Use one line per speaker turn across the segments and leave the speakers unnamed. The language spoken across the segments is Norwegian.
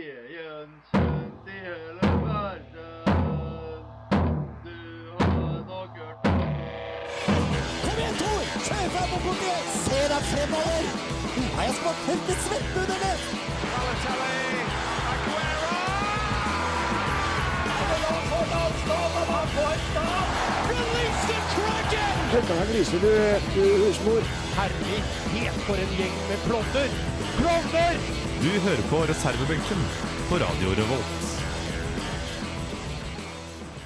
Veden kjent i hele verden. Du har nok hørt om
Kom igjen, Tor! Kjør fram og borti! Se deg fremover! Nå har jeg spart tørket svette under det!
Du hører på reservebenken på Radio Revolt.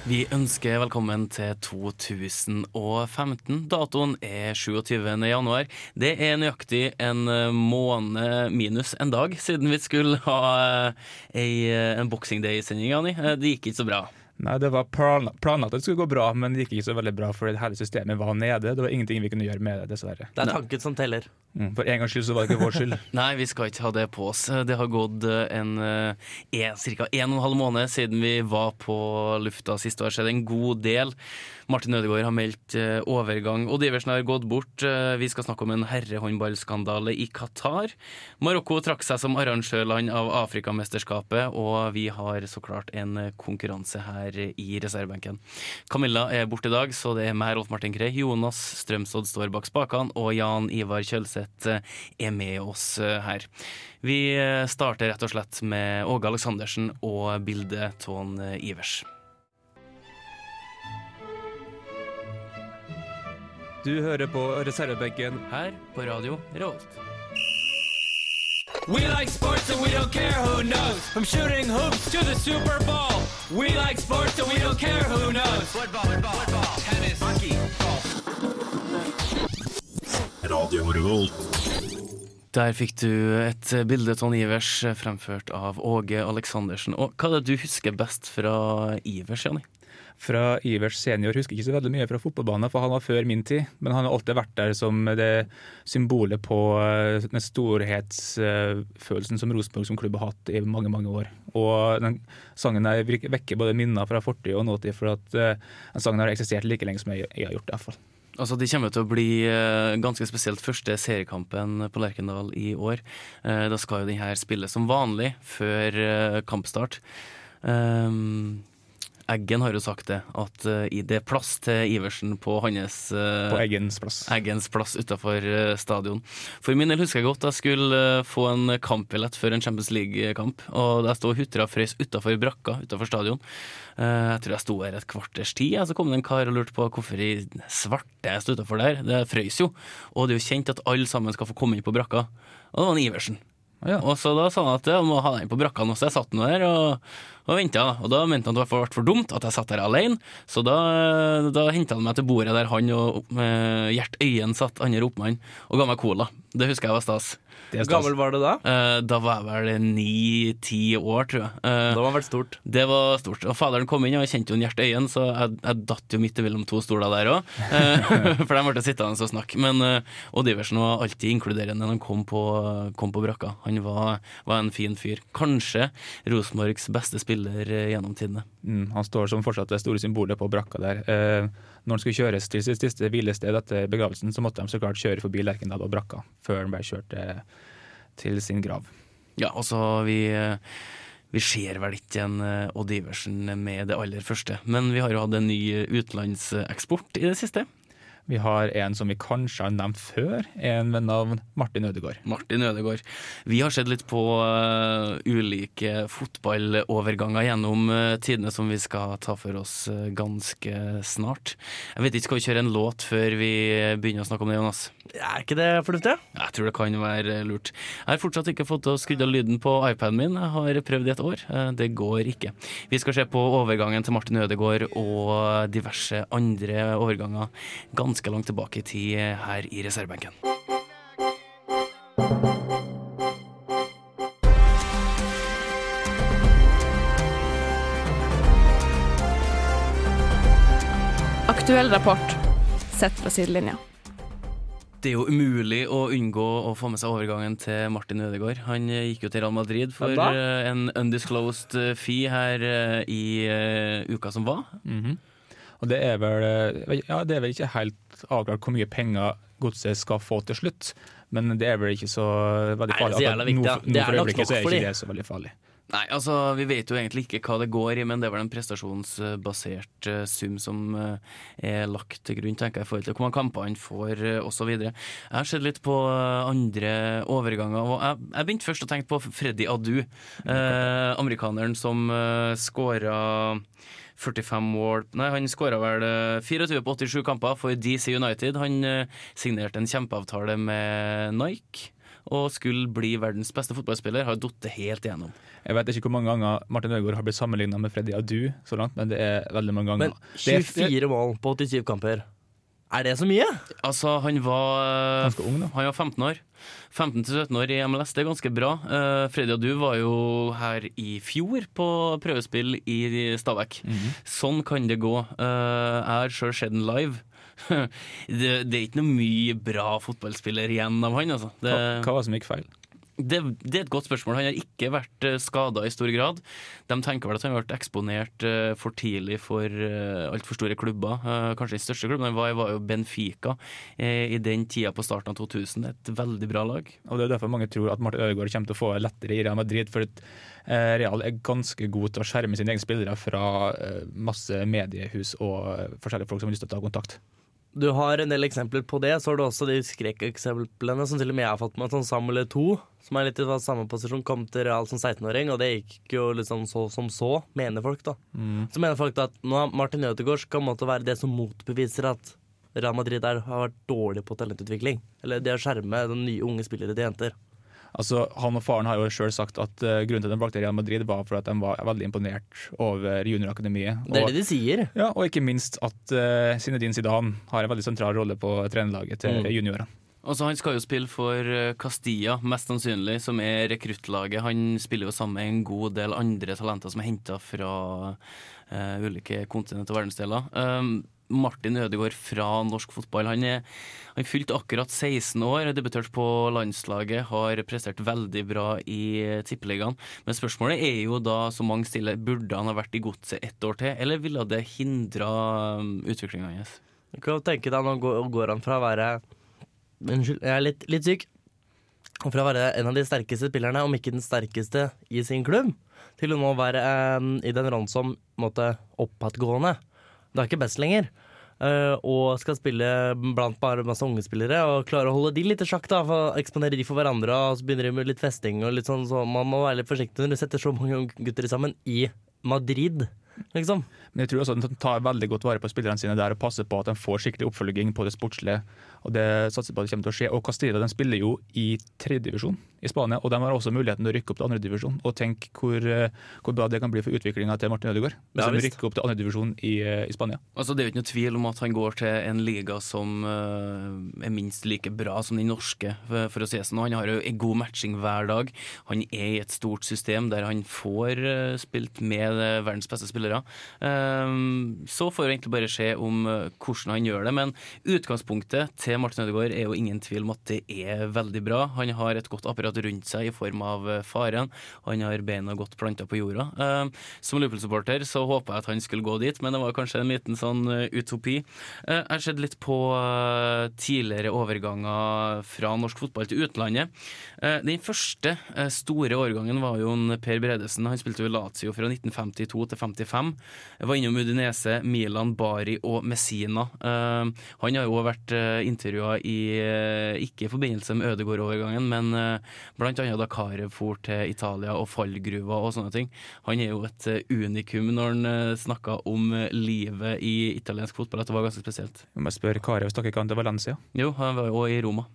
Vi ønsker velkommen til 2015. Datoen er 27. januar. Det er nøyaktig en eh, måned minus en dag siden vi skulle ha eh, ei, eh, en Boxing Day-sending, Jani. Eh, Det gikk ikke så bra.
Nei, det var planla planlagt at det skulle gå bra, men det gikk ikke så veldig bra fordi hele systemet var nede. Det var ingenting vi kunne gjøre med det, dessverre.
Det er tanken som teller.
Mm. For en gangs skyld så var det ikke vår skyld.
Nei, vi skal ikke ha det på oss. Det har gått eh, en, eh, en, ca. en og en halv måned siden vi var på lufta sist år, så det er en god del. Martin Ødegaard har meldt eh, overgang, og Diversen har gått bort. Eh, Vi skal snakke om en herrehåndballskandale i Qatar. Marokko trakk seg som arrangørland av Afrikamesterskapet, og vi har så klart en eh, konkurranse her i reservebenken. Camilla er borte i dag, så det er meg, Rolf Martin Krei, Jonas Strømsodd står bak spakene, og Jan Ivar Kjølseth eh, er med oss eh, her. Vi eh, starter rett og slett med Åge Aleksandersen og bildet Tån Ivers.
Du hører på reservebenken.
Her på Radio Revolt.
We like sports and we don't care who knows. From shooting hoops to the Super Bowl. We like sports and we don't care who knows. Football, football, football, tennis, hockey, golf.
Der fikk du et bilde Tån Ivers fremført av Åge Aleksandersen. Og hva er det du husker best fra Ivers, Janni?
Fra Ivers senior husker jeg ikke så veldig mye fra fotballbanen, for han var før min tid. Men han har alltid vært der som det symbolet på eh, den storhetsfølelsen som Rosenborg som klubb har hatt i mange, mange år. Og den sangen her virker- vekker både minner fra fortid og nåtid, for at eh, den sangen har eksistert like lenge som jeg, jeg har gjort det, iallfall.
Altså, Det kommer til å bli eh, ganske spesielt første seriekampen på Lerkendal i år. Eh, Da skal jo den her spilles som vanlig før eh, kampstart. Ehm, Eggen har jo sagt det, at eh, i- det er plass til Iversen på hans eh,
På Eggens plass.
Eggens plass utafor stadion. For min del husker jeg godt jeg skulle eh, få en kampbillett før en Champions League-kamp. Og jeg sto og hutra og frøs utafor brakka utafor stadion. Eh, Jeg tror jeg sto her et kvarters tid, og så kom det en kar og lurte på hvorfor i svarte jeg sto utafor der. Det frøys jo. Og det er jo kjent at alle sammen skal få komme inn på brakka. Og det var en Iversen.
Ja.
Og så da sa han at jeg må ha den på brakka nå, så jeg satt nå der og, og venta. Og da mente han at det var for dumt at jeg satt der alene, så da, da henta han meg til bordet der han og eh, Gjert Øyen satt, andre oppmann, og ga meg cola. Det husker jeg var stas.
Det er stas.
Gammel var det da?
Eh, da var jeg vel ni-ti år, tror jeg. Eh,
Da var det vært stort.
det var stort. Og faderen kom inn, og jeg kjente jo en Gjert Øyen, så jeg, jeg datt jo midt imellom to stoler der òg. for de ble sittende og snakke. Men eh, Odd Iversen var alltid inkluderende når han kom på, kom på brakka. Han var, var en fin fyr. Kanskje Rosenborgs beste spiller eh, gjennom tidene.
Mm, han står som fortsatt det store symbolet på brakka der. Eh, når han skulle kjøres til sitt siste hvilested etter begravelsen, så måtte de så klart kjøre forbi Lerkendal og brakka, før han ble kjørt eh, til sin grav.
Ja, og så vi eh, vi ser vel ikke en eh, Odd Iversen med det aller første, men vi har jo hatt en ny utenlandseksport i det siste.
Vi har en som vi kanskje har nevnt før, en venn av Martin Ødegaard.
Martin Ødegaard. Vi har sett litt på eh, ulike fotballoverganger gjennom eh, tidene som vi skal ta for oss eh, ganske snart. Jeg vet ikke, skal vi kjøre en låt før vi begynner å snakke om det, Jonas?
Er ikke det fornuftig?
Jeg tror det kan være lurt. Jeg har fortsatt ikke fått til å skru av lyden på iPaden min. Jeg har prøvd i et år. Eh, Det går ikke. Vi skal se på overgangen til Martin Ødegaard og diverse andre overganger ganske langt tilbake i tid eh, her i reservebenken.
Aktuell rapport sett fra sidelinja.
Det er jo umulig å unngå å få med seg overgangen til Martin Ødegaard. Han eh, gikk jo til Real Madrid for
Hvem da?
eh, en undisclosed eh, fee her eh, i eh, uka som var.
Og det er vel, eh, ja, det er vel ikke helt avklart hvor mye penger godset skal få til slutt, men det er vel ikke så veldig
Nei, det er
farlig.
så jævla viktig,
nå,
da.
nå
Det er
for
nok
øyeblikket så
nok
er
for de.
ikke det så veldig farlig.
Nei, altså, vi vet jo egentlig ikke hva det går i, men det er vel en prestasjonsbasert eh, sum som eh, er lagt til grunn, tenker jeg, i forhold til hvor mange kamper han får eh, og så videre. Jeg har sett litt på eh, andre overganger, og jeg, jeg begynte først å tenke på Freddy Adu. Eh, amerikaneren som eh, skåra 45 mål Nei, han skåra vel eh, 24 på 87 kamper for DC United. Han eh, signerte en kjempeavtale med Nike. Og skulle bli verdens beste fotballspiller, har datt helt igjennom.
Jeg vet ikke hvor mange ganger Martin Ødegaard har blitt sammenligna med Freddy Adu så langt, men det er veldig mange ganger.
Men 24 mål på 87 kamper, er det så mye?
Altså, han var eh,
Ganske ung, da.
Han var 15 år. 15-17 år i MLS, det er ganske bra. Eh, Freddy og du var jo her i fjor på prøvespill i Stabæk.
Mhm.
Sånn kan det gå. Eh, jeg har sjøl sett den live. det, det er ikke noe mye bra fotballspiller igjen av han, altså. Det,
Hva, hva var det som gikk feil?
det, det er et godt spørsmål. Han har ikke vært skada i stor grad. De tenker vel at han har vært eksponert eh, for tidlig for eh, altfor store klubber. Eh, Kanskje den største klubben han var i, var jo Benfica eh, i den tida på starten av 2000. Et veldig bra lag.
Og Det er derfor mange tror at Martin Ødegaard kommer til å få det lettere i Real Madrid, for at eh, Real er ganske god til å skjerme sine egne spillere fra eh, masse mediehus og eh, forskjellige folk som har lyst til å ta kontakt.
Du har en del eksempler på det. Så har du også de skrekkeksemplene som til og med jeg har fått med, sånn Samuel Eto'o, som er litt i samme posisjon, kom til Real som 16-åring, og det gikk jo litt sånn så som så, mener folk, da. Så mener folk da at nå har Martin Ødegaard skal på en måte være det som motbeviser at Real Madrid er, har vært dårlig på talentutvikling. Eller det å skjerme den nye unge spillere til jenter.
Altså, Han og faren har jo sjøl sagt at eh, grunnen til at de valgte Real Madrid, var for at de var veldig imponert over juniorakademiet.
Det er
Og-
det de sier.
Ja, og ikke minst at eh, Zinedine Zidane har en veldig sentral rolle på trenerlaget til
Mm.
juniorene.
Altså, han skal jo spille for eh, Castilla, mest sannsynlig, som er rekruttlaget. Han spiller jo sammen med en god del andre talenter som er henta fra eh, ulike kontinent og verdensdeler. Um, Martin Ødegaard fra norsk fotball. Han er, han er fylt akkurat 16 år, er debutert på landslaget, har prestert veldig bra i eh, tippeligaen. Men spørsmålet er jo da, som mange stiller, burde han ha vært i godset ett år til, eller ville det hindra um, utviklinga hans?
Du kan jo tenke deg, nå går, går han fra å være Unnskyld, jeg er litt, litt syk. Og fra å være en av de sterkeste spillerne, om ikke den sterkeste i sin klubb, til å nå være eh, i den rollen som på en måte, oppadgående. Det er ikke best lenger. Eh, og skal spille blant bare masse unge spillere og klare å holde de litt i sjakk. da for Eksponere de for hverandre, og så begynner de med litt festing. og litt sånn så Man må være litt forsiktig når du setter så mange unge gutter sammen i Madrid, liksom.
Men jeg tror også at de tar veldig godt vare på spillerne sine der og passer på at de får skikkelig oppfølging på det sportslige. Og det satser på at det kommer til å skje. Og Castilla de spiller jo i tredjedivisjon i Spania, og de har også muligheten til å rykke opp til andredivisjon. Og tenk hvor, eh, hvor bra det kan bli for utviklinga til Martin Ødegaard. Hvis
Ja,
de
visst.
rykker opp til andredivisjon i, eh, i Spania.
Altså, det er jo ikke noe tvil om at han går til en liga som eh, er minst like bra som den norske, for, for å si det sånn. Og Han har jo en god matching hver dag. Han er i et stort system der han får eh, spilt med eh, verdens beste spillere. Ehm, så får vi egentlig bare se om eh, hvordan han gjør det, men utgangspunktet til Martin Ødegaard er jo ingen tvil om at det er veldig bra. Han har et godt apparat rundt seg i form av eh, faren, og han har beina godt planta på jorda. Ehm, som Liverpool-supporter så håpa jeg at han skulle gå dit, men det var kanskje en liten sånn eh, utopi. Eh, jeg har sett litt på eh, tidligere overganger fra norsk fotball til utlandet. Eh, den første eh, store overgangen var jo en Per Bredesen. Han spilte jo i Lazio fra 1952 til 55. Jeg var innom Udinese, Milan, Bari og Messina. Eh, han har jo også vært uh, intervjua i eh, ikke i forbindelse med Ødegård-overgangen, men eh, blant annet da Karev for til Italia og fallgruva og sånne ting. Han er jo et eh, unikum når han uh, snakka om eh, livet i italiensk fotball, at det var ganske spesielt.
Jeg må spørre Karev, stakk ikke han til Valencia?
Jo, han var jo også i Roma.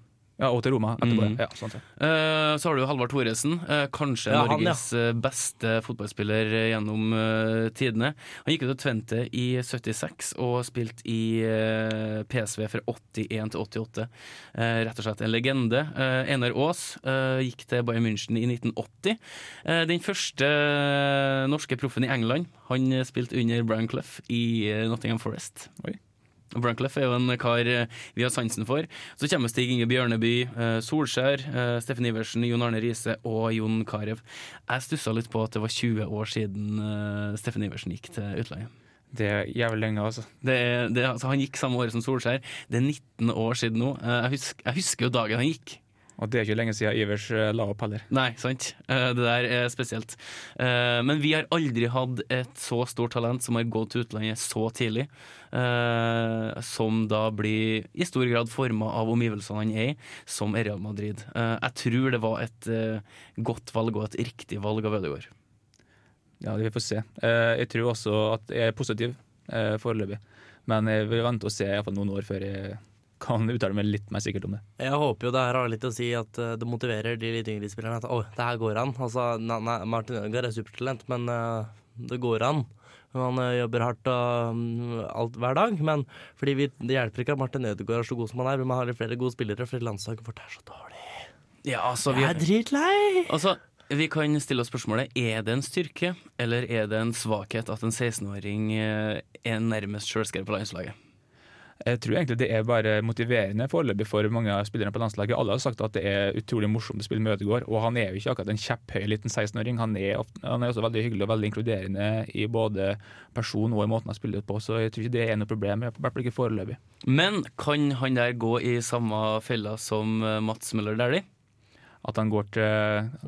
Ja, og til Roma etterpå.
Mm.
Ja, sånn, sant, ja.
Eh, Så har du Halvard Thoresen, eh, kanskje
Ja, han,
Norges eh, beste fotballspiller eh, gjennom eh, tidene. Han gikk ut til Twente i 76 og spilte i eh, PSV fra 81 til 88. Eh, Rett og slett en legende. Eh, Einar Aas eh, gikk til Bayern München i 1980. Eh, Den første eh, norske proffen i England. Han eh, spilte under Brian Clough i eh, Nottingham Forest.
Oi.
Og Brancleff er jo en kar eh, vi har sansen for. Så kommer Stig Inge Bjørneby, eh, Solskjær, eh, Steffen Iversen, Jon Arne Riise og Jon Carew. Jeg stussa litt på at det var 20 år siden eh, Steffen Iversen gikk til utlandet.
Det er jævlig lenge, altså.
Det, er- det, er- altså, han gikk samme året som Solskjær. Det er 19 år siden nå. Eh, Jeg husker, jeg husker jo dagen han gikk.
Og det er ikke lenge siden Ivers eh, la opp heller.
Nei, sant. Eh, Det der er spesielt. Eh, Men vi har aldri hatt et så stort talent som har gått til utlandet så tidlig. eh, Som da blir i stor grad forma av omgivelsene han er i, som er Real Madrid. Eh, Jeg tror det var et eh, godt valg og et riktig valg av Ødegaard.
Ja, det vi får se. Eh, Jeg tror også at jeg er positiv eh, foreløpig. Men jeg vil vente og se i hvert fall noen år før jeg kan uttale meg litt mer sikkert om det.
Jeg håper jo det her har litt å si at eh, det motiverer de litt yngre spillerne. At å, det her går an. Altså, nei, nei, Martin Ødegaard er supertalent, men eh, det går an. Han eh, jobber hardt og mm, alt hver dag, men fordi vi, det hjelper ikke at Martin Ødegaard er så god som han er. Vi må ha litt flere gode spillere, fordi landslaget vårt er så dårlig.
Ja, altså, vi
Jeg er dritlei!
Altså, vi kan stille oss spørsmålet Er det en styrke eller er det en svakhet at en 16-åring eh, er nærmest sjølskrevet på landslaget?
Jeg tror egentlig det er bare motiverende foreløpig for mange av spillerne på landslaget. Alle har sagt at det er utrolig morsomt å spille med Ødegaard, og han er jo ikke akkurat en kjepphøy liten 16-åring. Han, er ofte- han er også veldig hyggelig og veldig inkluderende i både person og i måten han spiller på, så jeg tror ikke det er noe problem, i hvert fall ikke foreløpig.
Men kan han der gå i samme fella som eh, Mats Møller Dæhlie? Um,
At han går til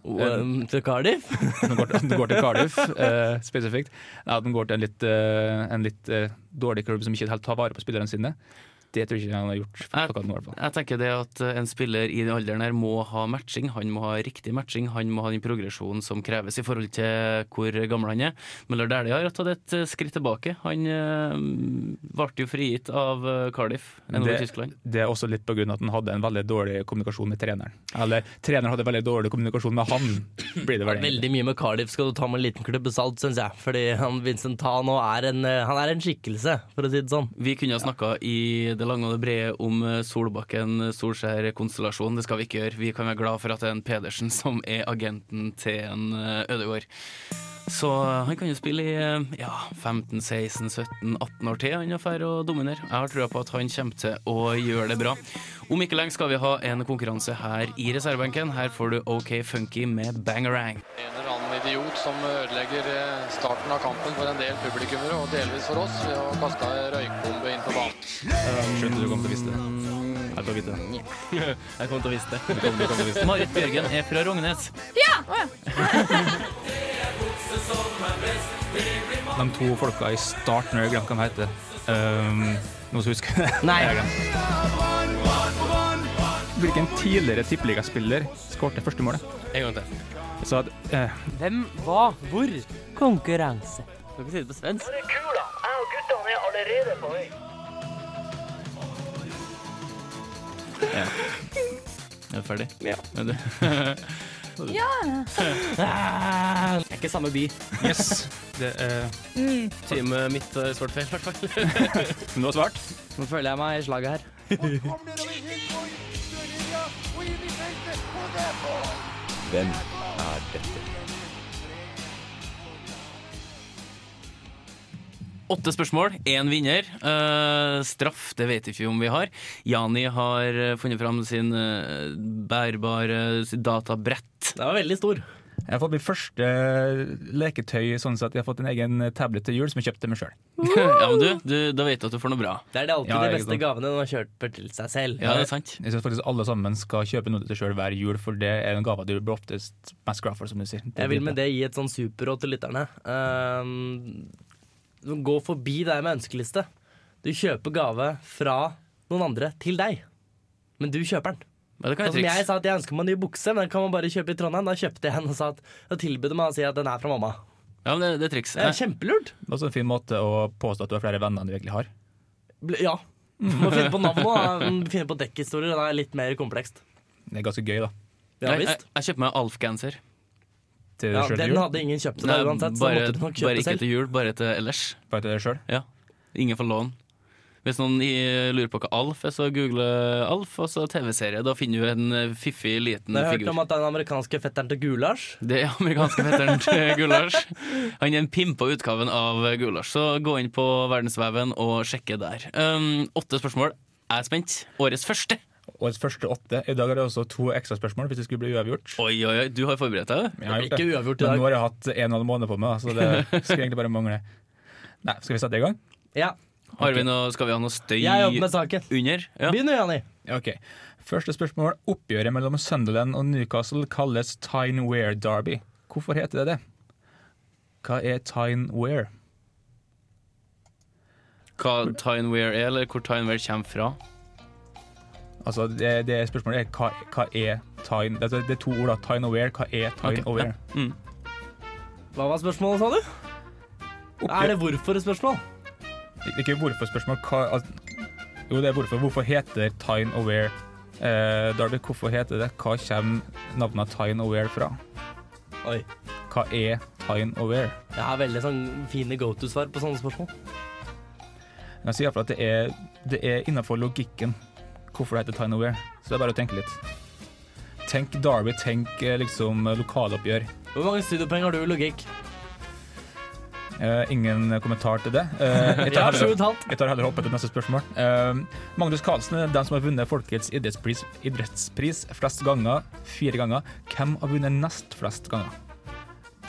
Og, eh, Til Cardiff?
at den går, til- at den går til Cardiff eh, spesifikt. Nei, at den går til en litt, eh, en litt eh, dårlig klubb som ikke helt tar vare på spillerne sine. Det tror jeg ikke han har gjort.
Jeg-
akkurat nå i hvert fall.
Jeg tenker det at eh, en spiller i den alderen her må ha matching. Han må ha riktig matching, han må ha den progresjonen som kreves i forhold til hvor gammel han er. Møller Dæhlie har tatt et eh, skritt tilbake. Han eh, ble jo frigitt av eh, Cardiff, NO i Tyskland.
Det, det er også litt pga. at han hadde en veldig dårlig kommunikasjon med treneren. Eller treneren hadde veldig dårlig kommunikasjon med han, blir det vel egentlig.
Veldig mye med Cardiff skal du ta med en liten klubb salt, syns jeg. Fordi han Vincent Tan nå er en, eh, han er en skikkelse, for å si det sånn.
Vi kunne ha snakka i det lange og det brede om eh, Solbakken, Solskjær-konstellasjonen. Det skal vi ikke gjøre. Vi kan være glad for at det er en Pedersen som er agenten til en eh, Ødegaard. Så eh, han kan jo spille i eh, ja, 15-16-17-18 år til, han er ferdig å dominere. Jeg har trua på at han kommer til å gjøre det bra. Om ikke lenge skal vi ha en konkurranse her i reservebenken. Her får du OK Funky med Bangarang.
En eller annen idiot som ødelegger eh, starten av kampen for en del publikummere, og delvis for oss, ved å kaste en røykbombe inn på banen.
Skjønte du kom til å vite det. Jeg kom til å vite det.
Jeg kommer til å vise det. Marit Bjørgen er fra Rognes.
Ja! Å ja.
De to folka i starten, jeg glemte hva de heter. Um, noen som husker det?
Nei.
Jeg har glemt. Hvilken tidligere tippeligaspiller skåret første målet?
En gang til.
Så at, eh,
Hvem, hva, hvor? Konkurranse. Kan ikke si det på svensk.
Er du ferdig? Ja.
Det er ikke samme by.
yes, det er
Teamet mitt har svart feil, i hvert fall.
Men du har svart?
Nå føler jeg meg i slaget her.
Åtte spørsmål, én vinner. Eh, straff, det vet ikke vi om vi har. Jani har eh, funnet fram sin eh, bærbare sitt databrett.
Den var veldig stor.
Jeg har fått mitt første leketøy sånn sett. Jeg har fått en egen tablet til jul som jeg kjøpte meg sjøl.
ja, men du, du, da vet du at du får noe bra.
Det er det alltid
Ja,
de
ikke
beste
sant.
gavene når man kjøper til seg selv.
Ja, det er sant.
Jeg syns faktisk alle sammen skal kjøpe noe til seg sjøl hver jul, for det er en gave du blir oftest mest glad for, som du sier.
Jeg vil med det gi et sånn superråd til lytterne. Ehm, gå forbi det med ønskeliste. Du kjøper gave fra noen andre til deg, men du kjøper den.
Men det kan
Sånn
være
Som jeg
triks.
sa at jeg ønsker meg en ny bukse, men den kan man bare kjøpe i Trondheim. Da kjøpte jeg en og sa at da tilbød meg å si at den er fra mamma.
Ja, men det, det er triks.
Det er
Eh,
kjempelurt.
Det er også en fin måte å påstå at du har flere venner enn du egentlig har.
Bl- Ja. Må finne på navn og finne på dekkhistorier. Det er litt mer komplekst.
Det er ganske gøy, da.
Ja,
jeg, jeg,
visst.
jeg kjøper meg Alf-genser.
Til deg
Ja,
sjøl
den
til jul.
hadde ingen kjøpt til
Nei,
deg uansett, så da
Bare,
måtte du nok
bare
kjøpe
ikke
selv.
til jul, bare til ellers.
Bare til deg selv.
Ja. Ingen får lån. Hvis noen i- lurer på hva Alf er, så google Alf, og så TV-serie. Da finner du en eh, fiffig, liten
Jeg har hørt
figur.
om at den amerikanske fetteren til Gulasj
Det er amerikanske fetteren til Gulasj. Han er en pimpa utgaven av Gulasj, så gå inn på verdensveven og sjekke der. Um, åtte spørsmål. Jeg er spent. Årets første.
Årets første åtte. I dag er det også to ekstra spørsmål hvis det skulle bli uavgjort.
Oi, oi, oi. Du har forberedt deg, du.
Jeg har gjort
Ikke
det.
uavgjort i
Men
dag.
nå har jeg hatt en og en halv måned på meg, da, så det skulle egentlig bare mangle. Nei, skal vi sette i gang?
Ja,
Har vi noe, skal vi ha noe støy
jeg jobber med saken.
under? Ja.
Begynn du, Jani.
Ja, ok. Første spørsmål. Oppgjøret mellom Sunderland og Newcastle kalles Tyne Wear Derby. Hvorfor heter det det? Hva er Tyne Wear?
Hva Tyne Wear er, eller hvor Tyne Wear kommer fra.
Altså, det, det spørsmålet er hva, hva er Tyne? Det, er- det er to ord, da. Tyne og wear. Hva er Tyne
Ok,
og wear?
Hva var spørsmålet, sa du?
Oppgjør-
Er det hvorfor-spørsmål?
Ikke hvorfor-spørsmål. Hva al- Jo, det er hvorfor. Hvorfor heter Tyne og wear eh, Derby? Hvorfor heter det? Hva kommer navnet Tyne og wear fra?
Oi.
Hva er Tyne og wear?
Jeg har veldig sånn fine go to-svar på sånne spørsmål.
Jeg sier iallfall at det er, det er innafor logikken hvorfor det heter Tyne Aware. Så det er bare å tenke litt. Tenk Derby, tenk eh, liksom lokaloppgjør.
Hvor mange studiepoeng har du i logikk?
Eh, ingen kommentar til det. Eh, jeg,
Jeg
tar
har sju og
heller,
et halvt.
jeg tar heller hoppet til neste spørsmål. Eh, Magnus Carlsen er den som har vunnet Folkets idrettspris, idrettspris flest ganger. Fire ganger. Hvem har vunnet nest flest ganger?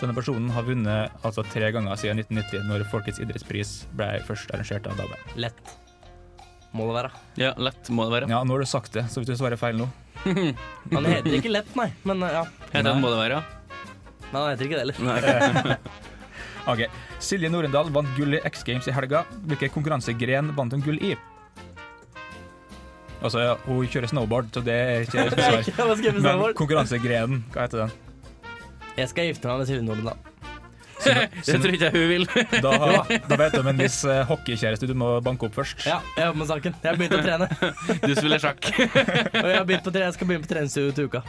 Denne personen har vunnet altså tre ganger siden 1990, når Folkets idrettspris ble først arrangert av Dagbladet.
Lett. Må det være.
Ja, lett må det være.
Ja, nå har du sagt det, så hvis du svarer feil nå
Han heter ikke Lett, nei. Men eh, ja.
Heter den må det være, ja.
Nei, han heter ikke det heller.
Nei,
Ok, Silje Norendal vant gull i X Games i helga. Hvilken konkurransegren vant hun gull i? Altså, ja, hun kjører snowboard, så det er ikke et svar.
Ja, hva skal jeg bestemme
Men
for?
konkurransegrenen, hva heter den?
Jeg skal gifte meg med Silje Nordendal.
det tror ikke jeg hun vil.
Da, da vet du om en viss eh, hockeykjæreste du må banke opp først.
Ja, jeg jobber med saken. Jeg har begynt å trene.
Du spiller sjakk.
Og jeg, har begynt på tre, jeg skal begynne på treningsstudio til uka.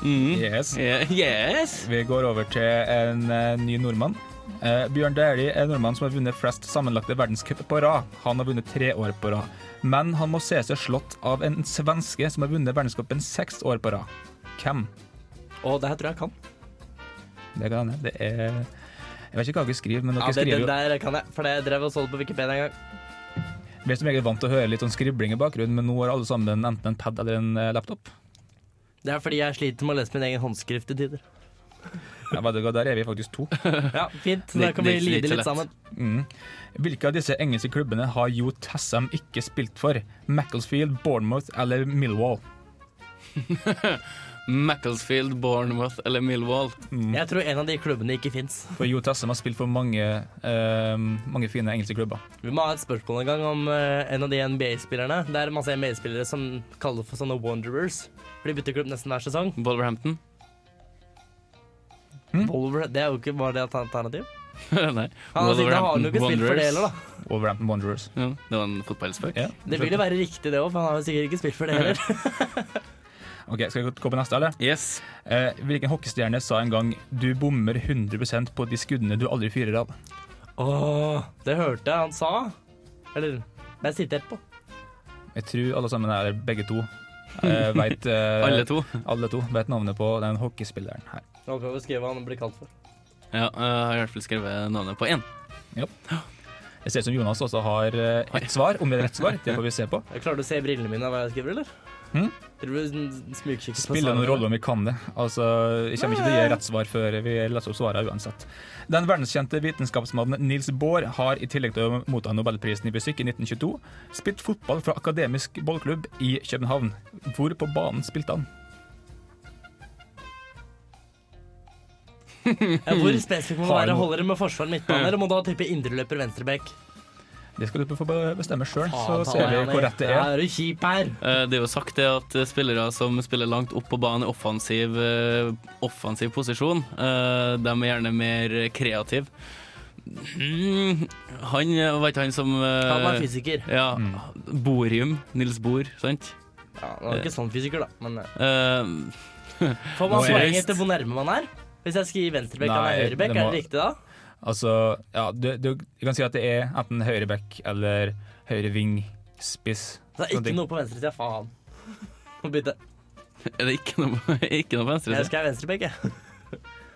Mm.
Yes.
Yeah, Yes.
Vi går over til en eh, ny nordmann. Eh, Bjørn Dæhlie er nordmann som har vunnet flest sammenlagte verdenscup på rad. Han har vunnet tre år på rad. Men han må se seg slått av en svenske som har vunnet verdenscupen seks år på rad. Hvem?
Og det her tror jeg jeg kan.
Det kan hende. Det er Jeg vet ikke hva dere skriver, men dere
Ja, det,
skriver
den
jo
der kan jeg, for det jeg drev og så det på Wikipedia en gang.
Vi er som regel vant til å høre litt sånn skribling i bakgrunnen, men nå har alle sammen enten en pad eller en eh, laptop.
Det er fordi jeg sliter med å lese min egen håndskrift i tider.
Ja, vet du hva, Der er vi faktisk to.
Ja, fint. Så
Det-
da kan vi
det er ikke
lide
så
litt
lett.
sammen.
Mm. Hvilke av disse engelske klubbene har Jo Tassam ikke spilt for? Macclesfield, Bournemouth eller Millwall?
Macclesfield, Bournemouth eller Millwall.
Jeg tror en av de klubbene ikke fins.
For Jo Tassam har spilt for mange, eh, mange fine engelske klubber.
Vi må ha et spørsmål en gang om eh, en av de NBA-spillerne. Det er masse NBA-spillere som kaller for sånne Wanderers. For de bytter klubb nesten hver sesong.
Wolverhampton?
Wolver, det er jo ikke bare det et alternativ.
Nei.
Han har sikkert- har han jo ikke spilt for det heller, da.
Wolverhampton Wanderers.
Ja, det var en fotballspøk.
Ja,
Det vil jo være riktig, det òg, for han har jo sikkert ikke spilt for det heller.
Ok, Skal vi gå på neste, eller?
Yes.
Eh, hvilken hockeystjerne sa en gang 'du bommer 100 på de skuddene du aldri fyrer av'?
Åh, det hørte jeg han sa. Eller det er sitert på.
Jeg tror alle sammen er begge to. eh, vet, eh,
Alle to.
alle to vet navnet på den hockeyspilleren her.
Nå kan vi skrive hva han blir kalt for.
Ja, eh, jeg har i hvert fall skrevet navnet på én.
Jeg ser ut som Jonas også har eh, ett svar, om det er rett svar. Det får vi se på.
Jeg klarer du å se i brillene mine hva jeg skriver, eller?
Hm?
Tror du sn- smugkikker på
Spiller noen
svarene?
rolle om vi kan det. Altså, Jeg kommer ikke til å gi rett svar før vi leser opp svarene uansett. Den verdenskjente vitenskapsmannen Nils Bohr har i tillegg til å motta nobelprisen i fysikk i 1922, spilt fotball fra akademisk ballklubb i København. Hvor på banen spilte han?
Ja, hvor spesifikk må man
Har
være?
noe-
Holder det med forsvar midtbane, eller må du ha type indreløper venstrebekk?
Det skal du få bestemme sjøl, så
Ah, Faen, ta
ser vi
meg,
hvor rett E. det
Ja,
er.
er du kjip her?
Eh, Det er jo sagt det at eh, spillere som spiller langt opp på banen i offensiv, eh, offensiv posisjon, eh, de er gjerne mer kreative. Mm, han eh, var ikke han som eh,
Han var fysiker.
Ja. Borium. Nils Bohr, sant?
Ja, han var ikke sånn fysiker, da. Men eh,
Eh,
får man
Nå er
poeng
jeg-
etter hvor nærme man er? Hvis jeg skriver venstrebekk, han er
Nei,
høyrebekk,
det
er
må-
det riktig da?
Altså, ja, du, du, du kan si at det er enten høyre back eller høyre ving, spiss.
Så det er
sånne ting.
ikke noe på venstresida, faen. Må bytte.
er det ikke noe, ikke noe på venstre
Jeg
side?
skal ha venstrebekk, jeg.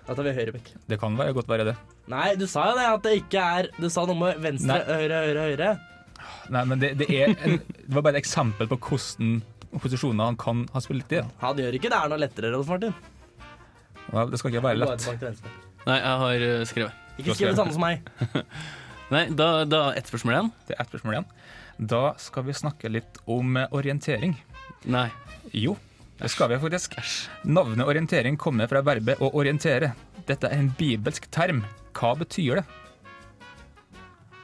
Da tar vi høyrebekk.
Det kan være, godt være det.
Nei, du sa jo det, at det ikke er Du sa noe med venstre,
Nei.
høyre, høyre, høyre.
Nei, men det, det, er en, det var bare et eksempel på hvordan posisjoner han kan ha spilt i. da.
Han gjør ikke det er noe lettere, Rolf Martin.
Vel, det skal ikke være
Gå
lett.
tilbake til venstre.
Nei, jeg har eh, skrevet.
Ikke skriv det samme som meg.
Nei, Nei, da, da ett spørsmål igjen.
Det er ett spørsmål igjen. Da skal vi snakke litt om eh, orientering.
Nei.
Jo, det skal vi faktisk. Navnet orientering kommer fra verbet å orientere. Dette er en bibelsk term. Hva betyr det?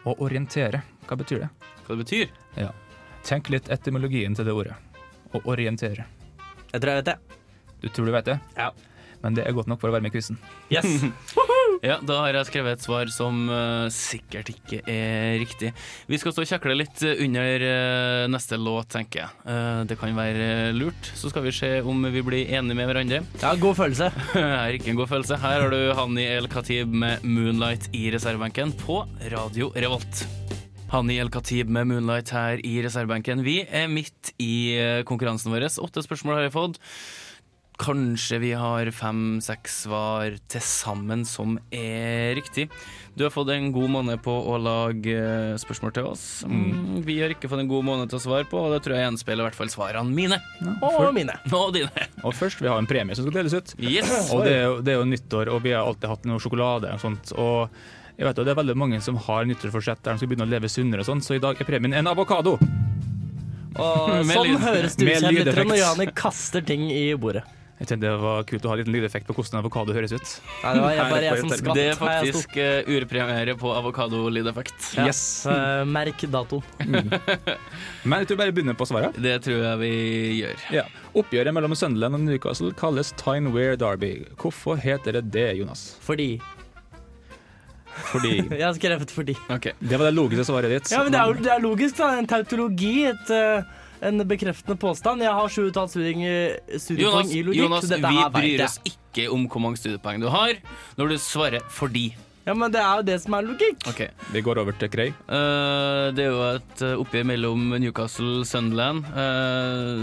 Å orientere, hva betyr det?
Hva det betyr?
Tenk litt etymologien til det ordet. Å orientere.
Jeg tror jeg vet det.
Du tror du vet det?
Ja.
Men det er godt nok for å være med i quizen.
Yes.
Ja, Da har jeg skrevet et svar som eh, sikkert ikke er riktig. Vi skal stå og kjekle litt eh, under eh, neste låt, tenker jeg. Eh, det kan være eh, lurt. Så skal vi se om vi blir enige med hverandre.
Ja, god følelse.
Jeg har ikke en god følelse. Her har du Hani El Khatib med 'Moonlight' i reservebenken på Radio Revolt. Hani El Khatib med 'Moonlight' her i reservebenken. Vi er midt i eh, konkurransen vår. Åtte spørsmål har jeg fått. Kanskje vi har fem-seks svar til sammen som er riktig. Du har fått en god måned på å lage eh, spørsmål til oss. Mm. Vi har ikke fått en god måned til å svare på, og det tror jeg gjenspeiler i hvert fall svarene mine.
Og mine.
Og dine.
Og først, vi har en premie som skal deles ut.
Yes!
Og det er, jo, det er jo nyttår, og vi har alltid hatt noe sjokolade og sånt. Og jeg vet jo, det er veldig mange som har nyttårsforsett der de skal begynne å leve sunnere og sånn, så i dag er premien en avokado.
Og
Med
sånn
lyd.
høres du
Med
ut
lydeffekt.
når Johanne kaster ting i bordet.
Jeg tenkte det var kult å ha en liten lydeffekt på hvordan en avokado høres ut.
Nei, det var jeg, bare
Her
jeg
får
som
jeg termen.
skvatt.
Det er
Her jeg sto.
faktisk eh, urpremiere på avokadolydeffekt.
Ja.
Yes.
Eh, merk datoen.
Men jeg tror bare vi begynner på svaret.
Det tror jeg vi gjør.
Ja. Oppgjøret mellom Sunderland og Newcastle kalles Tyne Wear Derby. Hvorfor heter det det, Jonas?
Fordi.
Fordi
Jeg har skrevet fordi.
Ok.
Det var det logiske svaret ditt.
Ja, men det er, jo- det er logisk, da. En tautologi. Et, eh, en bekreftende påstand. Jeg har sju og et halvt studiepoeng
Jonas,
studiepoeng i logikk,
Jonas
så
vi
dette her vet
bryr
jeg.
oss ikke om hvor mange studiepoeng du har, når du svarer 'fordi'.
Ja, men det er jo det som er logikk.
Ok.
Vi går over til Krei.
Eh, det er jo et eh, oppgjør mellom Newcastle, Sunderland, uh,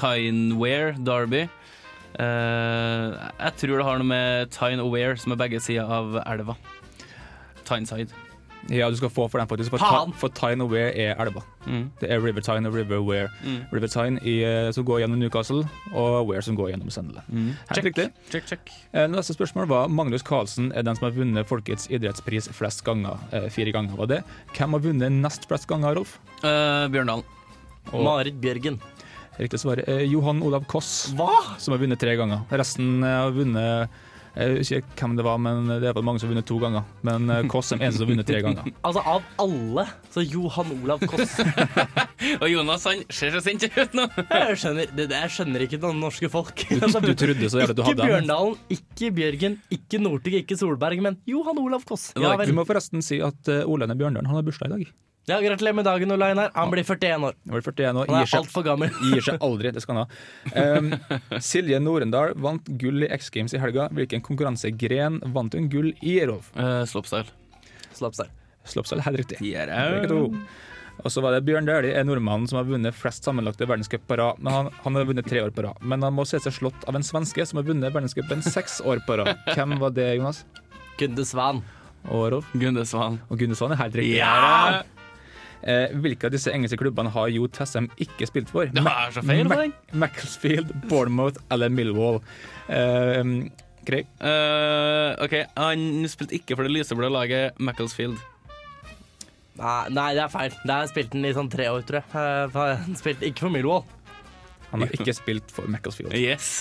Tyne-Ware, Derby. Eh, jeg tror det har noe med Tyne og Ware, som er begge sider av elva. Tyneside.
Ja, du skal få for den, faktisk. For,
Faen!
Ty- for Tyne og Wear er elva.
Mm.
Det er River Tyne og River Wear.
Mm.
River Tyne i, eh, som går gjennom Newcastle, og Wear som går gjennom Sunderland.
Mm.
Eh,
Helt riktig.
Mm. Check, check.
Eh, Neste spørsmål var Magnus Carlsen er den som har vunnet Folkets idrettspris flest ganger. Eh, Fire ganger var det. Hvem har vunnet nest flest ganger, Rolf?
Eh, Bjørndalen.
Og-
Marit Bjørgen.
Riktig svar er Johan Olav Koss,
Hva?
som har vunnet tre ganger. Resten eh, har vunnet eh, jeg husker ikke hvem det var, men det er vel mange som har vunnet to ganger. Men eh, Koss er den eneste som har vunnet tre ganger.
Altså, av alle, så Johan Olav Koss.
Og Jonas han ser så sint ut nå.
Jeg skjønner, det, det, jeg skjønner ikke noen norske folk. Altså,
Du, du trodde så jævlig du
Ikke
hadde den.
Bjørndalen, ikke Bjørgen, ikke Northug, ikke Solberg, men Johan Olav Koss. Ja,
var
Du
vel.
må forresten si at eh, Olaine Bjørndalen han har bursdag i dag.
ja, Gratulerer med dagen, Ole Einar. Han blir 41 år.
Han er 41 og
Han
gir
er
seg,
altfor gammel.
gir seg aldri. Det skal han ha. Um, Silje Norendal vant gull i X Games i helga. Hvilken konkurransegren vant hun gull i, Rolf?
Eh,
Uh, Slopestyle.
Slapp seg.
Slopstyle, helt riktig. Begge to. Og så var det Bjørn Dæhlie, en nordmann som har vunnet flest sammenlagte verdenscup på rad. Men han, han har vunnet tre år på rad. Men han må se seg slått av en svenske som har vunnet verdenscupen seks år på rad. Hvem var det, Jonas?
Gunde Svan.
Og Rolf?
Gunde Svan.
Og Gunnesson er helt riktig.
Ja!
Eh, hvilke av disse engelske klubbene har Jo Tessem ikke spilt for?
Det er så feil,
Mac- Macclesfield, Bournemouth eller Millwall. Eh, Grei.
Eh, OK, han spilte ikke for det lyseblå laget Macclesfield.
Nei, nei, det er feil. Der spilte han i sånn tre år, tror jeg. Eh, for Han spilte ikke for Millwall.
Han har ikke spilt for Macclesfield.
Yes.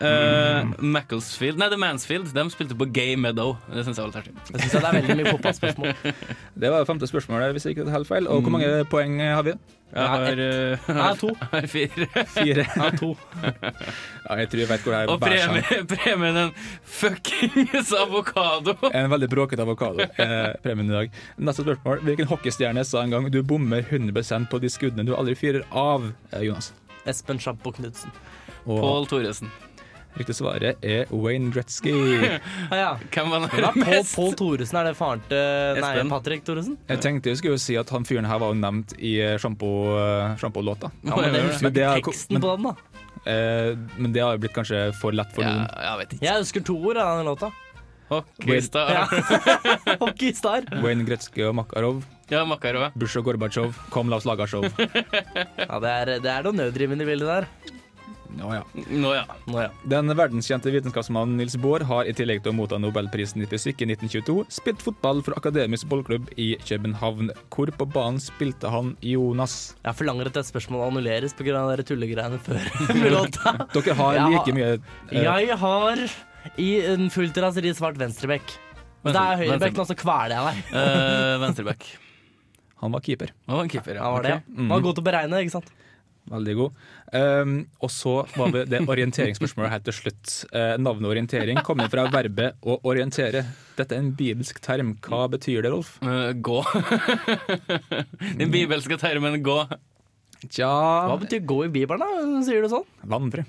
Eh, Macclesfield Nei, det er Mansfield. De spilte på Gay Meadow. Det syns jeg var litt artig.
Jeg synes det er veldig mye fotballspørsmål.
Det var det femte spørsmålet, hvis jeg ikke tar helt feil. Og hvor mange poeng har vi?
Jeg har, eh,
Nei, to.
Mm. jeg har fire.
Fire? Ja, to. ja, jeg tror jeg vet hvor det er.
Og
bæsj hen.
premie, premien en fuckings avokado.
En veldig bråkete avokado. Eh, premien i dag. Neste spørsmål. Hvilken hockeystjerne sa en gang du bommer 100 på de skuddene du aldri fyrer av, eh, Jonas?
Espen Sjampo Knutsen.
Og
Pål Thoresen.
riktig svaret er Wayne Gretzky.
Ah, ja.
Hvem var
Men da,
den
Pål
mest?
Pål Thoresen, er det faren til Nei,
Espen.
Patrick Thoresen?
Jeg tenkte jeg skulle jo si at han fyren her var jo nevnt i eh, sjampo- eh, sjampo-låta.
Ja, men jeg husker
Men det
ikke
er-
teksten
men-
på den, da.
Eh, men det har jo blitt kanskje for lett for
Ja,
noen.
jeg vet ikke.
Jeg husker to ord av den låta.
Hockeystav.
Ja.
Ja,
Hockeystar.
Wayne Gretzky og Makarov,
Makarov.
Bush og Gorbatsjov, kom la oss lage show.
Ja, det er, det er noe nødrivende i bildet der.
Nå ja.
Nå ja. Nå ja.
Den verdenskjente vitenskapsmannen Nils Bohr har i tillegg til å motta Nobelprisen i fysikk i 1922 spilt fotball for Akademisk bollklubb i København, hvor på banen spilte han Jonas.
Jeg forlanger at det spørsmålet annulleres pga. de tullegreiene før med låta.
Dere har
Ja.
like mye eh,
Jeg har i en fullt raseri svart venstrebekk. Det er høyrebekk, nå så kveler jeg deg.
Uh, Venstreback.
Han var keeper.
Han var en keeper, ja.
Ja, Mhm. var det.
Ok.
Man er god til å beregne, ikke sant?
Veldig god. Ehm, og så var det det orienteringsspørsmålet helt til slutt. Eh, navnet orientering kommer fra verbet å orientere. Dette er en bibelsk term. Hva betyr det, Rolf?
Eh, gå. Den bibelske termen 'gå'.
Tja
Hva betyr gå i Bibelen, da? Sier du sånn?
Vandre.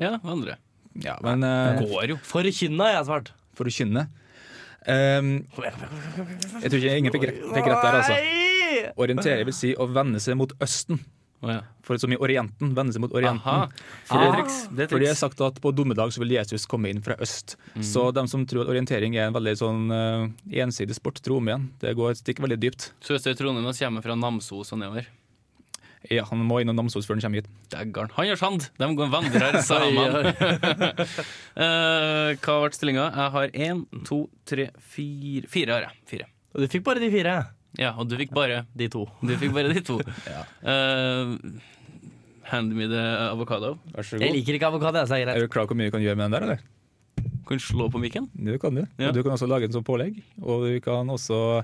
Ja, vandre.
Ja, men eh,
Går jo.
Forkynna, har jeg svart.
for å kynne Ehm, Jeg tror ikke ingen fikk rett, fikk rett der, altså.
Nei!
Orientere vil si å vende seg mot Østen.
Å ja.
For som i Orienten. Vende seg mot Orienten.
Aha.
Fordi,
det er triks. Det er
Ah!
fordi jeg
triks.
har sagt at på dommedag så vil Jesus komme inn fra øst. Så de som tror at orientering er en veldig sånn eh, ensidig sport, tro om igjen. Det går stikker veldig dypt.
Sørøstøy Ah. Trondheim og kommer fra Namsos og nedover.
Ja, han må innom Namsos før han kommer hit.
Dægger'n. Han gjør sand! De går vandrer sammen. Eh, hva ble stillinga? Jeg har én, to, tre, fire Fire har jeg. Fire.
Du fikk bare de fire.
Ja, og du fikk bare
De to.
Du fikk bare de to. Eh, hand me the avocado.
Vær så
Jeg
god.
liker ikke avokado, jeg, så det er
Er
greit.
du klar over hvor mye du kan gjøre med den der, eller?
Kan du slå på mikken?
Det kan du.
Ja.
Og du kan også lage den som pålegg, og du kan også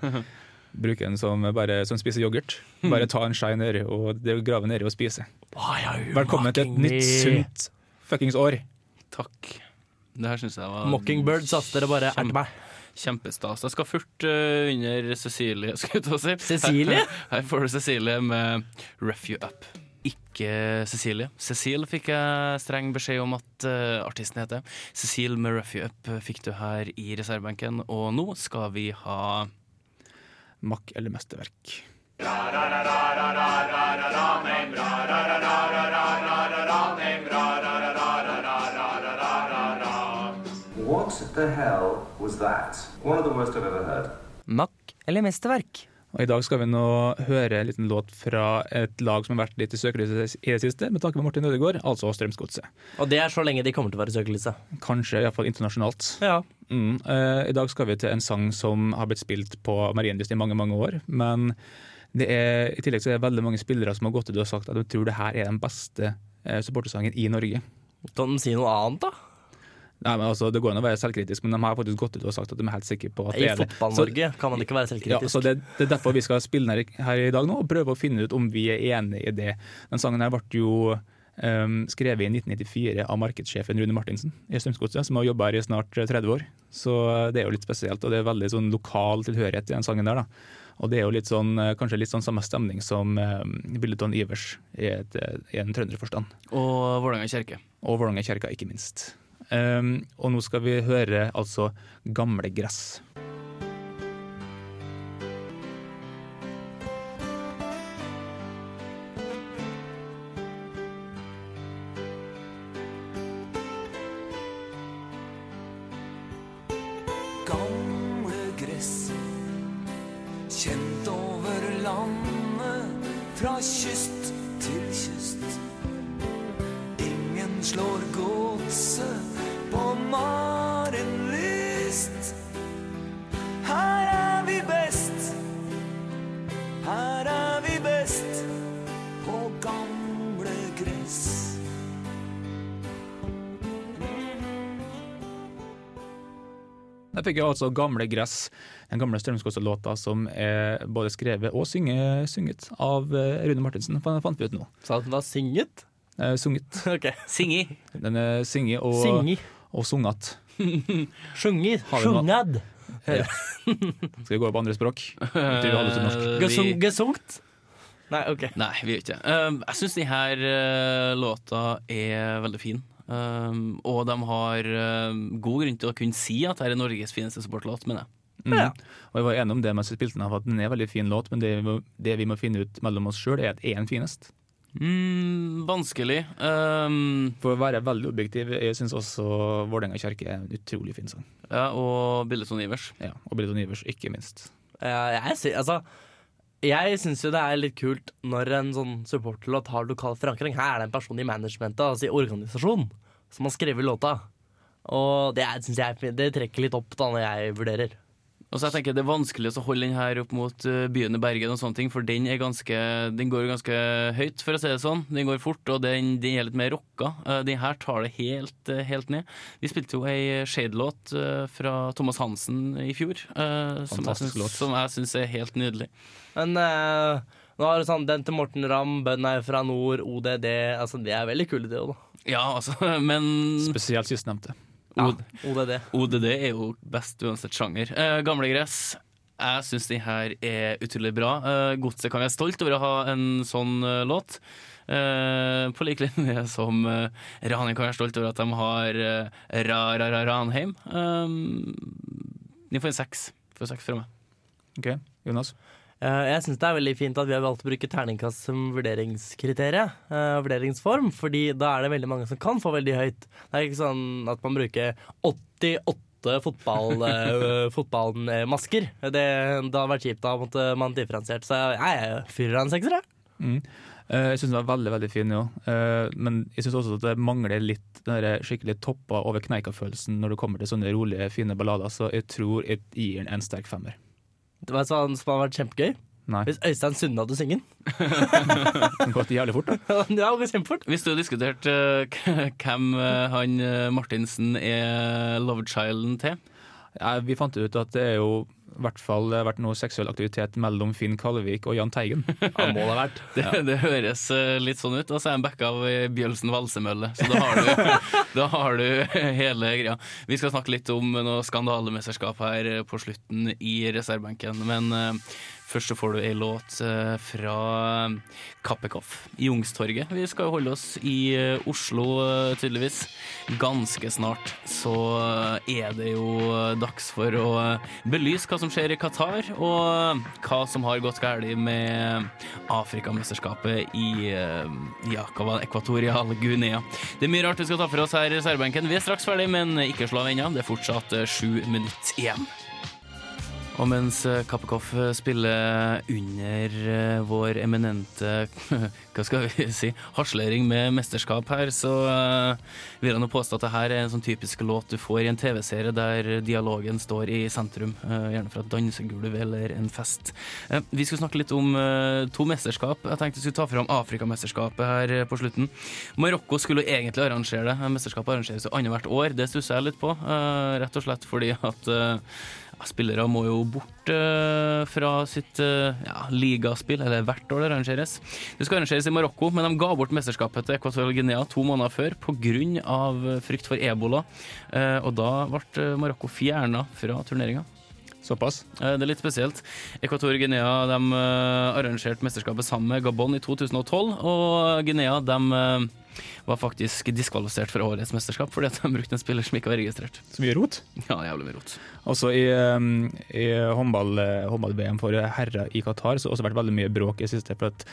bruke den som, bare, som spiser yoghurt. Bare ta en skei nedi og det- grave nedi og spise.
Why are you
Velkommen til et
mocking me?
nytt sunt fuckings år.
Takk. Det her syns jeg var
Mockingbird satt dere bare erte meg.
kjempestas. Jeg skal furt eh, under Cecilie, skal jeg til å si.
Cecilie?
Her, her får du Cecilie med Rough You Up. Ikke Cecilie. Cecil fikk jeg streng beskjed om at eh, artisten heter. Cecil med Rough You Up fikk du her i reservebenken, og nå skal vi ha
Makk eller mesterverk.
What the hell was that? One of the worst I've ever heard.
Mack eller mesterverk?
Og I dag skal vi nå høre en liten låt fra et lag som har vært litt i søkelyset i det siste, med tanke på Martin Ødegaard, altså Strømsgodset.
Og det er så lenge de kommer til å være i søkelyset.
Kanskje iallfall internasjonalt.
Ja.
Mm. eh, I dag skal vi til en sang som har blitt spilt på Marienlyst i mange mange år. Men det er, i tillegg så er det veldig mange spillere som har gått ut og sagt at de tror det her er den beste eh, supportersangen i Norge.
Kan den si noe annet, da?
Nei, men altså, Det går an å være selvkritisk, men de har faktisk gått ut og sagt at de er helt sikre på at
I
det er det.
Fotball-Norge kan man ikke være
Så, ja,
selvkritisk.
så det, det er derfor vi skal spille den her, her i dag nå, og prøve å finne ut om vi er enig i det. Den sangen her ble jo eh, skrevet i 1994 av markedssjefen Rune Martinsen i Strømsgodset, som har jobba her i snart 30 år. Så det er jo litt spesielt, og det er veldig sånn lokal tilhørighet i den sangen der. da. Og det er jo litt sånn, eh, kanskje litt sånn samme stemning som uh, Billeton Ivers i, et, eh, i en trønderforstand.
Og Vålerenga kirke.
Og Vålerenga kirka, ikke minst. Eh, og nå skal vi høre altså 'Gamle gress'.
Gamle gress Kjent over landet Fra kyst til kyst Ingen slår godse På Marienlyst Her er vi best Her er vi best På gamle gress
Der fikk jeg altså 'Gamle gress', den gamle Strømsgodset-låta som er både skrevet og synge, sunget av eh, Rune Martinsen, fan- fant vi ut nå.
Sa den var synget?
Eh, sunget.
Ok.
Singi.
Den er singet og,
Singi.
og sunget.
Sjungir.
Har vi noe-
Sjungad.
Skal vi gå på andre språk? Jeg tror vi holder oss til norsk.
Eh, vi,
Gesung- Gesungt. Nei, OK.
Nei, vi gjør ikke det. Um, jeg syns denne låta er veldig fin. Um, og de har um, god grunn til å kunne si at dette er Norges fineste supportlåt, mener jeg.
Mm. Og jeg var enig om det mens jeg spilte den, her, for at den er en veldig fin låt, men det, vi må- det vi må finne ut mellom oss sjøl, er at er den finest?
Mm, vanskelig. Um,
For å være veldig objektiv, jeg syns også 'Vålerenga kjerke' er en utrolig fin sang.
ja, og Billeton Ivers.
Ja, og Billeton Ivers, ikke minst.
Eh, Jeg, sy- altså, Jeg syns jo det er litt kult når en sånn supporterlåt har lokal forankring. Her er det en person i managementet, altså i organisasjonen, som har skrevet låta. Og det er- syns jeg er fint. det trekker litt opp da når jeg vurderer.
Og så jeg tenker Det er vanskelig å holde den her opp mot eh, byen i Bergen, og sånne ting, for den, er ganske, den går ganske høyt, for å si det sånn. Den går fort, og den, den er litt mer rocka. Eh, Den her tar det helt, eh, helt ned. Vi spilte jo ei Shade-låt eh, fra Thomas Hansen i fjor, eh, som jeg
Fantastisk låt.
syns- som jeg syns er helt nydelig.
Men eh, nå har du sånn den til Morten Ramm, 'Bøndene er fra nord', ODD altså Det er veldig kule, det òg, da.
Ja, altså, men
Spesielt sistnevnte.
Ja,
Od-
ODD.
ODD er jo best uansett sjanger. Eh, gamle gress. Jeg syns den her er utrolig bra. Eh, Godset kan være stolt over å ha en sånn eh, låt. Eh, på lik linje som eh, Ranheim kan være stolt over at de har eh, Ra-ra-ra-Ranheim. Eh, de får en seks. Får seks fra meg.
Ok, Jonas?
Eh, Jeg syns det er veldig fint at vi har valgt å bruke terningkast som vurderingskriterium. eh, vurderingsform, fordi da er det veldig mange som kan få veldig høyt. Det er ikke sånn at man bruker 88 fotball, eh, fotballmasker. Det, det hadde vært kjipt. Da måtte man differensiert. Så jeg, jeg fyrer av en sekser, jeg.
Eh, Jeg syns den var veldig veldig fin, jo. Eh, Men jeg syns også at det mangler litt den der skikkelig toppa over kneika-følelsen når det kommer til sånne rolige, fine ballader, så jeg tror jeg gir den en sterk femmer.
Det var sånn som hadde vært kjempegøy.
Nei,
Hvis Øystein Sunde hadde sunget den.
den gått jævlig fort, da.
Det hadde gått kjempefort.
Vi skulle diskutert eh, k- hvem eh, han eh, Martinsen er lovechilden til.
Ja, Vi fant ut at det er jo i hvert fall det har vært noe seksuell aktivitet mellom Finn Kalvik og Jahn Teigen.
Ja, må det ha vært.
Det, det høres eh, litt sånn ut. Og så er han backa av eh, Bjølsen Valsemølle, så da har, du, da har du hele greia. Vi skal snakke litt om noe skandalemesterskap her eh, på slutten i reservebenken, men eh, først så får du ei låt eh, fra eh, Kappekoff, Jungstorget. Vi skal jo holde oss i eh, Oslo, eh, tydeligvis. Ganske snart så eh, er det jo eh, dags for å eh, belyse hva som skjer i Qatar, og hva som har gått galt med Afrikamesterskapet i eh, Jakava, Ekvatorial Guinea. Det er mye rart vi skal ta for oss her i særbenken. Vi er straks ferdig, men ikke slå av ennå. Det er fortsatt eh, sju minutter igjen. Og mens eh, Kappekoff eh, spiller under eh, vår eminente hva skal vi si harselering med mesterskap her, så eh, vil jeg nå påstå at det her er en sånn typisk låt du får i en TV-serie der dialogen står i sentrum. eh, Gjerne fra et dansegulv eller en fest. Eh, Vi skulle snakke litt om eh, to mesterskap. Jeg tenkte vi skulle ta fram Afrikamesterskapet her eh, på slutten. Marokko skulle jo egentlig arrangere det. Eh, Mesterskapet arrangeres jo annethvert år. Det stusser jeg litt på, eh, rett og slett fordi at eh, ja, Spillere må jo bort eh, fra sitt eh, ja, ligaspill, eller hvert år det arrangeres. Det skal arrangeres i Marokko, men de ga bort mesterskapet til Equatorial Guinea to måneder før pga. frykt for ebola. Eh, Og da ble Marokko fjerna fra turneringa.
Såpass.
Eh, Det er litt spesielt. Ekvator Guinea de eh, arrangerte mesterskapet sammen med Gabon i 2012, og Guinea de eh, var faktisk diskvalifisert for årets mesterskap fordi at de brukte en spiller som ikke var registrert.
Så mye rot.
Ja, jævlig mye rot.
Også i, um, i håndball, eh, håndball-VM for herrer i Qatar så har det også vært veldig mye bråk i det siste. for at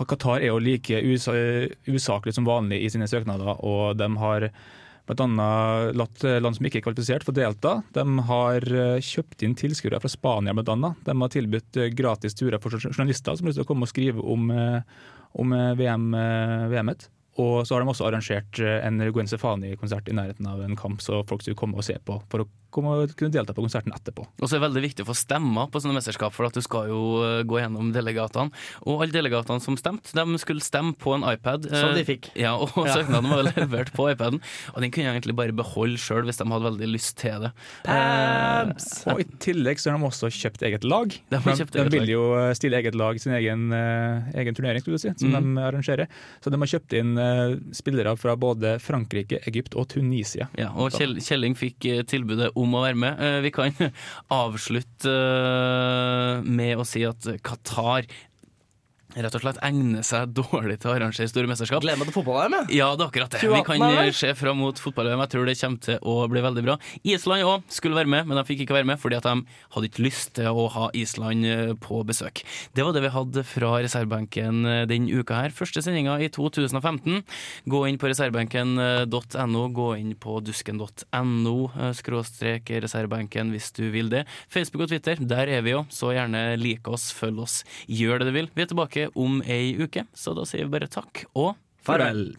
Qatar er jo like usa eh, usaklig som vanlig i sine søknader, og de har bl.a. latt land som ikke er kvalifisert få delta. De har eh, kjøpt inn tilskuere fra Spania bl.a. De har tilbudt eh, gratis turer for jour- journalister som har lyst til å komme og skrive om, eh, om eh, VM, eh, VM-et. Og så har de også arrangert eh, en Gwen Stefani-konsert i nærheten av en kamp, så folk skulle komme og se på for å komme og kunne delta på konserten etterpå.
Og så er det veldig viktig å få stemmer på sånne mesterskap, for at du skal jo eh, gå gjennom delegatene. Og alle delegatene som stemte, de skulle stemme på en iPad. eh,
Som de fikk.
Ja, og søknaden var levert på iPaden. Og den kunne jeg egentlig bare beholde sjøl hvis de hadde veldig lyst til det. Eh,
Pabs!
Og i tillegg så har de også kjøpt eget lag.
De har kjøpt eget lag.
vil jo eh, stille eget lag i sin egen, eh, egen turnering, skulle du si, som
Mm.
de arrangerer. Så de har kjøpt inn eh, spillere fra både Frankrike, Egypt og Tunisia.
Ja, og Kjell, Kjelling fikk eh, tilbudet om å være med. Eh, Vi kan avslutte eh, med å si at Qatar rett og slett egner seg dårlig til å arrangere store mesterskap.
Gleder meg til fotball-EM, jeg.
Ja, det er akkurat det.
28,
Vi kan eh,
eller?
se fram mot fotball-VM. Jeg tror det kommer til å bli veldig bra. Island òg skulle være med, men de fikk ikke være med fordi at de hadde ikke lyst til å ha Island eh, på besøk. Det var det vi hadde fra reservebenken eh, denne uka her. Første sendinga i 2015. Gå inn på eh, reservebenken.no, gå inn på dusken.no, eh, skråstrek reservebenken hvis du vil det. Facebook og Twitter, der er vi jo, så gjerne like oss, følg oss, gjør det du vil. Vi er tilbake om ei uke, så da sier vi bare takk og
Farvel.